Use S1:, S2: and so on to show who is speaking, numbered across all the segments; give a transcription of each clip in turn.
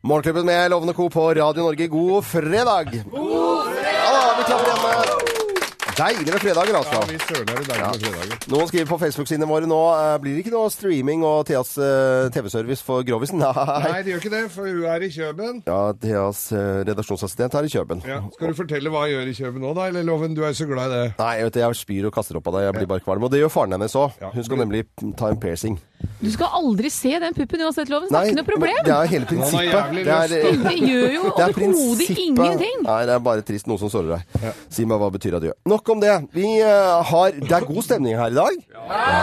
S1: Morgenklubben med Lovende Co. på Radio Norge, god fredag! God fredag! Ja, vi klapper igjen. Deilig med fredager, altså.
S2: Ja, vi søler det deilig med fredager.
S1: Noen skriver på Facebook-sidene våre nå eh, blir det ikke noe streaming og Theas eh, TV-service for Grovisen. Nei.
S2: Nei, det gjør ikke det, for hun er i Kjøben.
S1: Ja, Theas eh, redaksjonsassistent er i Kjøben.
S2: Ja. Skal du fortelle hva hun gjør i Kjøben nå, da? Eller Loven, du er jo så glad i det.
S1: Nei, jeg, vet, det, jeg spyr og kaster opp av deg. Jeg blir bare kvalm. Og det gjør faren hennes òg.
S2: Ja.
S1: Hun skal nemlig ta en piercing.
S3: Du skal aldri se den puppen uansett, Loven. Det er ikke
S1: men
S3: noe
S1: det
S3: problem.
S1: er jo hele prinsippet.
S2: jævlig
S1: Det er,
S2: lyst,
S1: eh,
S3: Det gjør
S1: Det
S3: jo
S1: er
S3: overhodet
S1: prinsippet.
S3: ingenting.
S1: Nei, det er bare trist noe som sårer deg. Si meg hva betyr adjø. Nok om det. Vi eh, har Det er god stemning her i dag. Ja,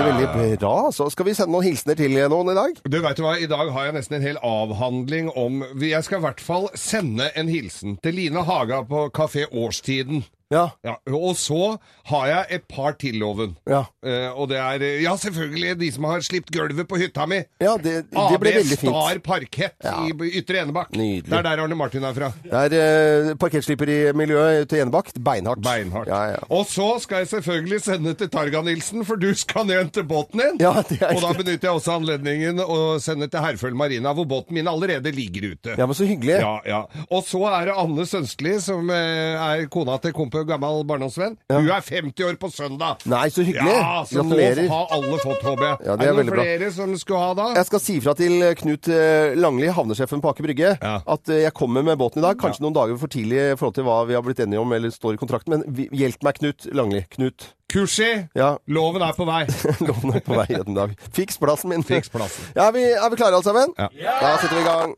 S1: veldig, veldig bra. Så skal vi sende noen hilsener til eh, noen i dag?
S2: Du vet du hva, I dag har jeg nesten en hel avhandling om Jeg skal i hvert fall sende en hilsen til Line Haga på Kafé Årstiden.
S1: Ja.
S2: Ja, og så har jeg et par til, Loven.
S1: Ja,
S2: Eh, og det er eh, ja, selvfølgelig de som har slipt gulvet på hytta mi.
S1: ja det, det ble veldig
S2: Ah, Star
S1: fint.
S2: Parkett i Ytre Enebakk.
S1: Nydelig.
S2: Det er der Arne Martin er fra.
S1: Det er uh, parkettslipper i miljøet ute i Enebakk. Beinhardt.
S2: Beinhardt.
S1: Ja, ja.
S2: Og så skal jeg selvfølgelig sende til Targa Nilsen, for du skal ned til båten din.
S1: Ja, det er
S2: og da
S1: riktig.
S2: benytter jeg også anledningen å sende til Herføl Marina, hvor båten min allerede ligger ute.
S1: ja, men så hyggelig.
S2: Ja, ja. Og så er det Anne Sønstli, som eh, er kona til Kompø, gammel barndomsvenn. Hun er 50 år på søndag!
S1: Nei, så hyggelig.
S2: Ja, så
S1: Gratulerer.
S2: nå har alle fått, håper jeg.
S1: Ja, det er
S2: er det
S1: veldig
S2: noen
S1: bra.
S2: flere som skulle ha da?
S1: Jeg skal si fra til Knut eh, Langli, havnesjefen på Aker Brygge,
S2: Ja.
S1: at eh, jeg kommer med båten i dag. Kanskje noen dager for tidlig i forhold til hva vi har blitt enige om eller står i kontrakten, men vi- hjelp meg, Knut Langli. Knut.
S2: Kursi!
S1: Ja.
S2: Loven er på vei!
S1: Loven er på vei en dag. Fiks plassen min.
S2: Fiks plassen.
S1: Ja, vi, er vi klare alle sammen?
S2: Ja.
S1: Da setter vi i gang.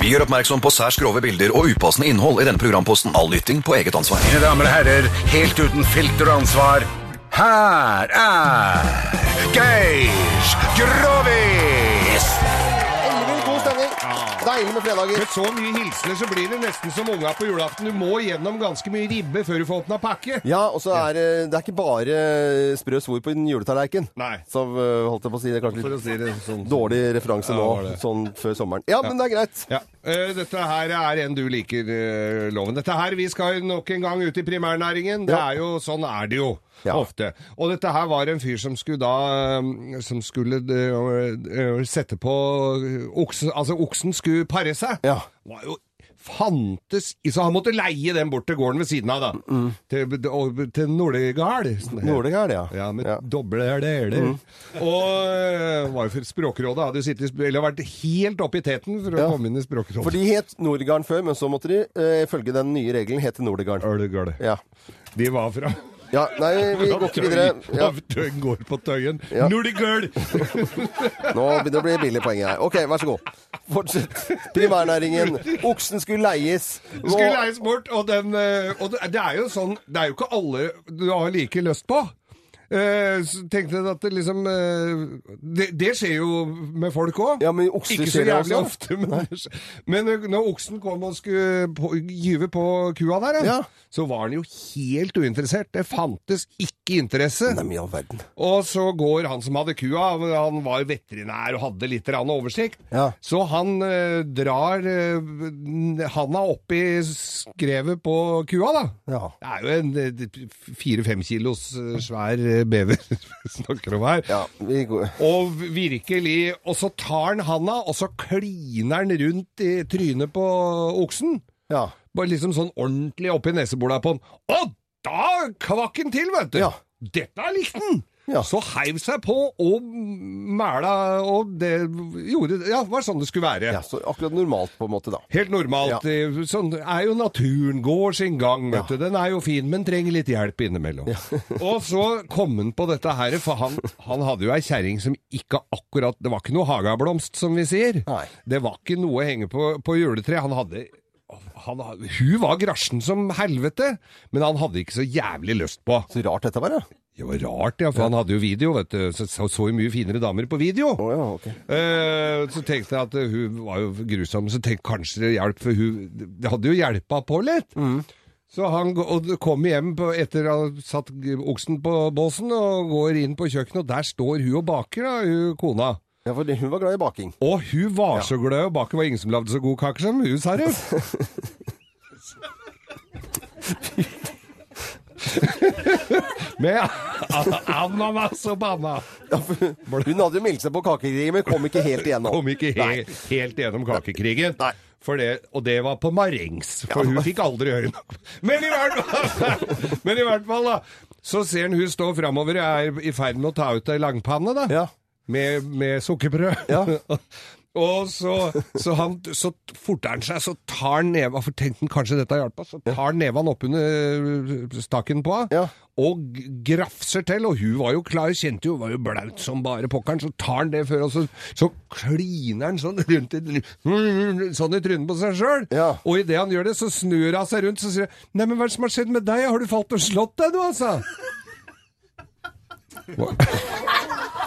S4: Vi gjør oppmerksom på særs grove bilder og upassende innhold i denne programposten. All lytting på eget ansvar.
S5: Mine damer og herrer, helt uten filter og ansvar, her er Geir Grovis!
S1: Ellevill god stemning. Deilig med fredager.
S2: Med så mye hilsener så blir det nesten som unga på julaften. Du må gjennom ganske mye ribbe før du får åpna pakke.
S1: Ja, og så er det, det er ikke bare sprø svor på en juletallerken.
S2: Nei.
S1: Som eh, holdt jeg på å si. Det sånn. er kanskje litt dårlig referanse
S2: Ja, det var
S1: nå,
S2: det.
S1: sånn før sommeren. Ja, men det er greit.
S2: Ja, eh, Dette her er en du liker, eh, Loven. Dette her, Vi skal jo nok en gang ut i primærnæringen. Det
S1: Ja.
S2: er jo, Sånn er det jo
S1: Ja.
S2: ofte. Og dette her var en fyr som skulle da eh, Som skulle eh, eh, sette på oksen, Altså, oksen skulle pare seg.
S1: Ja.
S2: Var jo fantes i- Så han måtte leie den bort til gården ved siden av, da.
S1: Mm.
S2: Til, og- til Nordegard. som det heter.
S1: Nordic er det, ja. Mm.
S2: Ja, med doble er det, er det. Og øh, var jo for Språkrådet hadde jo sittet, i sp- eller vært helt oppe i teten for å
S1: Ja.
S2: komme inn i Språkrådet.
S1: For de het Nordgarden før, men så måtte de eh, følge den nye regelen hete Nordegarden.
S2: Øl, gøl.
S1: Ja.
S2: De var fra
S1: ja. Nei, vi går ikke videre. Ja.
S2: Av Tøyen går på Tøyen.
S1: Ja.
S2: Nordigøl!
S1: Nå begynner det å bli billig poeng her. OK, vær så god. Fortsett. Primærnæringen. Oksen skulle leies. Og-
S2: Skulle leies bort, og, den, øh, og det det er jo sånn Det er jo ikke alle du har like lyst på. Eh, så tenkte jeg at det liksom eh, det, det skjer jo med folk òg.
S1: Ja, men okser
S2: Ikke så
S1: skjer det
S2: jævlig
S1: også.
S2: ofte, men, det skjer. men eh, når oksen kom og skulle på, gyve på kua der, eh,
S1: Ja.
S2: så var han jo helt uinteressert. Det fantes ikke interesse.
S1: Nei, men i all verden.
S2: Og så går han som hadde kua, han var veterinær og hadde litt grann oversikt,
S1: Ja.
S2: så han eh, drar eh, handa opp i skrevet på kua, da.
S1: Ja.
S2: Det er jo en eh, fire-fem kilos eh, svær eh, bever vi snakker om her.
S1: Ja, vi går.
S2: Og virkelig Og så tar han handa, og så kliner han rundt i trynet på oksen.
S1: Ja.
S2: Bare liksom sånn ordentlig oppi nesebola på den. Og da kvakk den til, vet du!
S1: Ja.
S2: Dette likte den!
S1: Ja.
S2: Så heiv seg på og mæla, og det gjorde Ja, det var sånn det skulle være.
S1: ja, så akkurat normalt på en måte, da.
S2: Helt normalt.
S1: Ja.
S2: eh, Sånn er jo naturen. Går sin gang, vet
S1: Ja.
S2: du. Den er jo fin, men trenger litt hjelp innimellom. og så kom han på dette her, for han, han hadde jo ei kjerring som ikke akkurat Det var ikke noe hageblomst, som vi sier.
S1: Nei.
S2: Det var ikke noe å henge på, på juletreet. Han hadde han, hadde- hun var grasjen som helvete, men han hadde ikke så jævlig lyst på.
S1: Så rart dette var, ja.
S2: Det var rart, ja, for han hadde jo video, vet du. Så så, så jo mye finere damer på video.
S1: Å ja, ok.
S2: Eh, så tenkte jeg at eh, hun var jo grusom, så tenkte jeg kanskje det hjalp, for hun det hadde jo hjelpa på litt.
S1: Mm.
S2: Så han gå- og kom hjem på, etter å ha satt g- oksen på båsen og går inn på kjøkkenet, og der står hun og baker, da, hun kona.
S1: Ja, for det- hun var glad i baking.
S2: Og hun var så glad i å bake, det var ingen som lagde så god kake som hun, sa hun. med ananas og banna.
S1: Hun hadde jo meldt seg på kakekrigen, men kom ikke helt igjennom.
S2: Kom ikke he helt gjennom kakekrigen.
S1: Nei.
S2: For det, og det var på marengs, for hun fikk aldri høre noe. Men i hvert fall, men i hvert fall da, så ser han hun stå framover og er i ferd med å ta ut ei langpanne, da.
S1: Ja.
S2: Med, med sukkerbrød.
S1: Ja.
S2: og så, så, han, så forter han seg, så tar han neva For tenk den kanskje dette hjalp oss. Så tar han neven oppunder stakken eh, på henne
S1: Ja.
S2: og grafser til. Og hun var jo klar, kjente jo, var jo blaut som bare pokkeren. Så tar han det før, og så, så kliner han sånn rundt i, sånn i trynet på seg sjøl.
S1: Ja.
S2: Og idet han gjør det, så snur han seg rundt så sier han, 'Nei, men hva er det som har skjedd med deg? Har du falt og slått deg, du, altså?'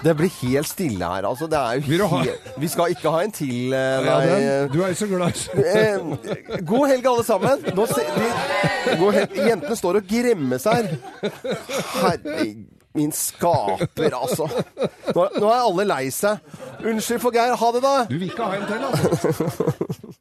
S1: Det blir helt stille her, altså. Det er jo
S2: Vil du ha-
S1: helt... Vi skal ikke ha en til, eh,
S2: Ja,
S1: nei.
S2: den, du er jo så glad i
S1: Eh, god helg, alle sammen. Nå se, de, god helg. Jentene står og gremmes her. Herre min skaper, altså. Nå, nå er alle lei seg. Unnskyld for Geir. Ha det, da.
S2: Du vil ikke ha en til, altså?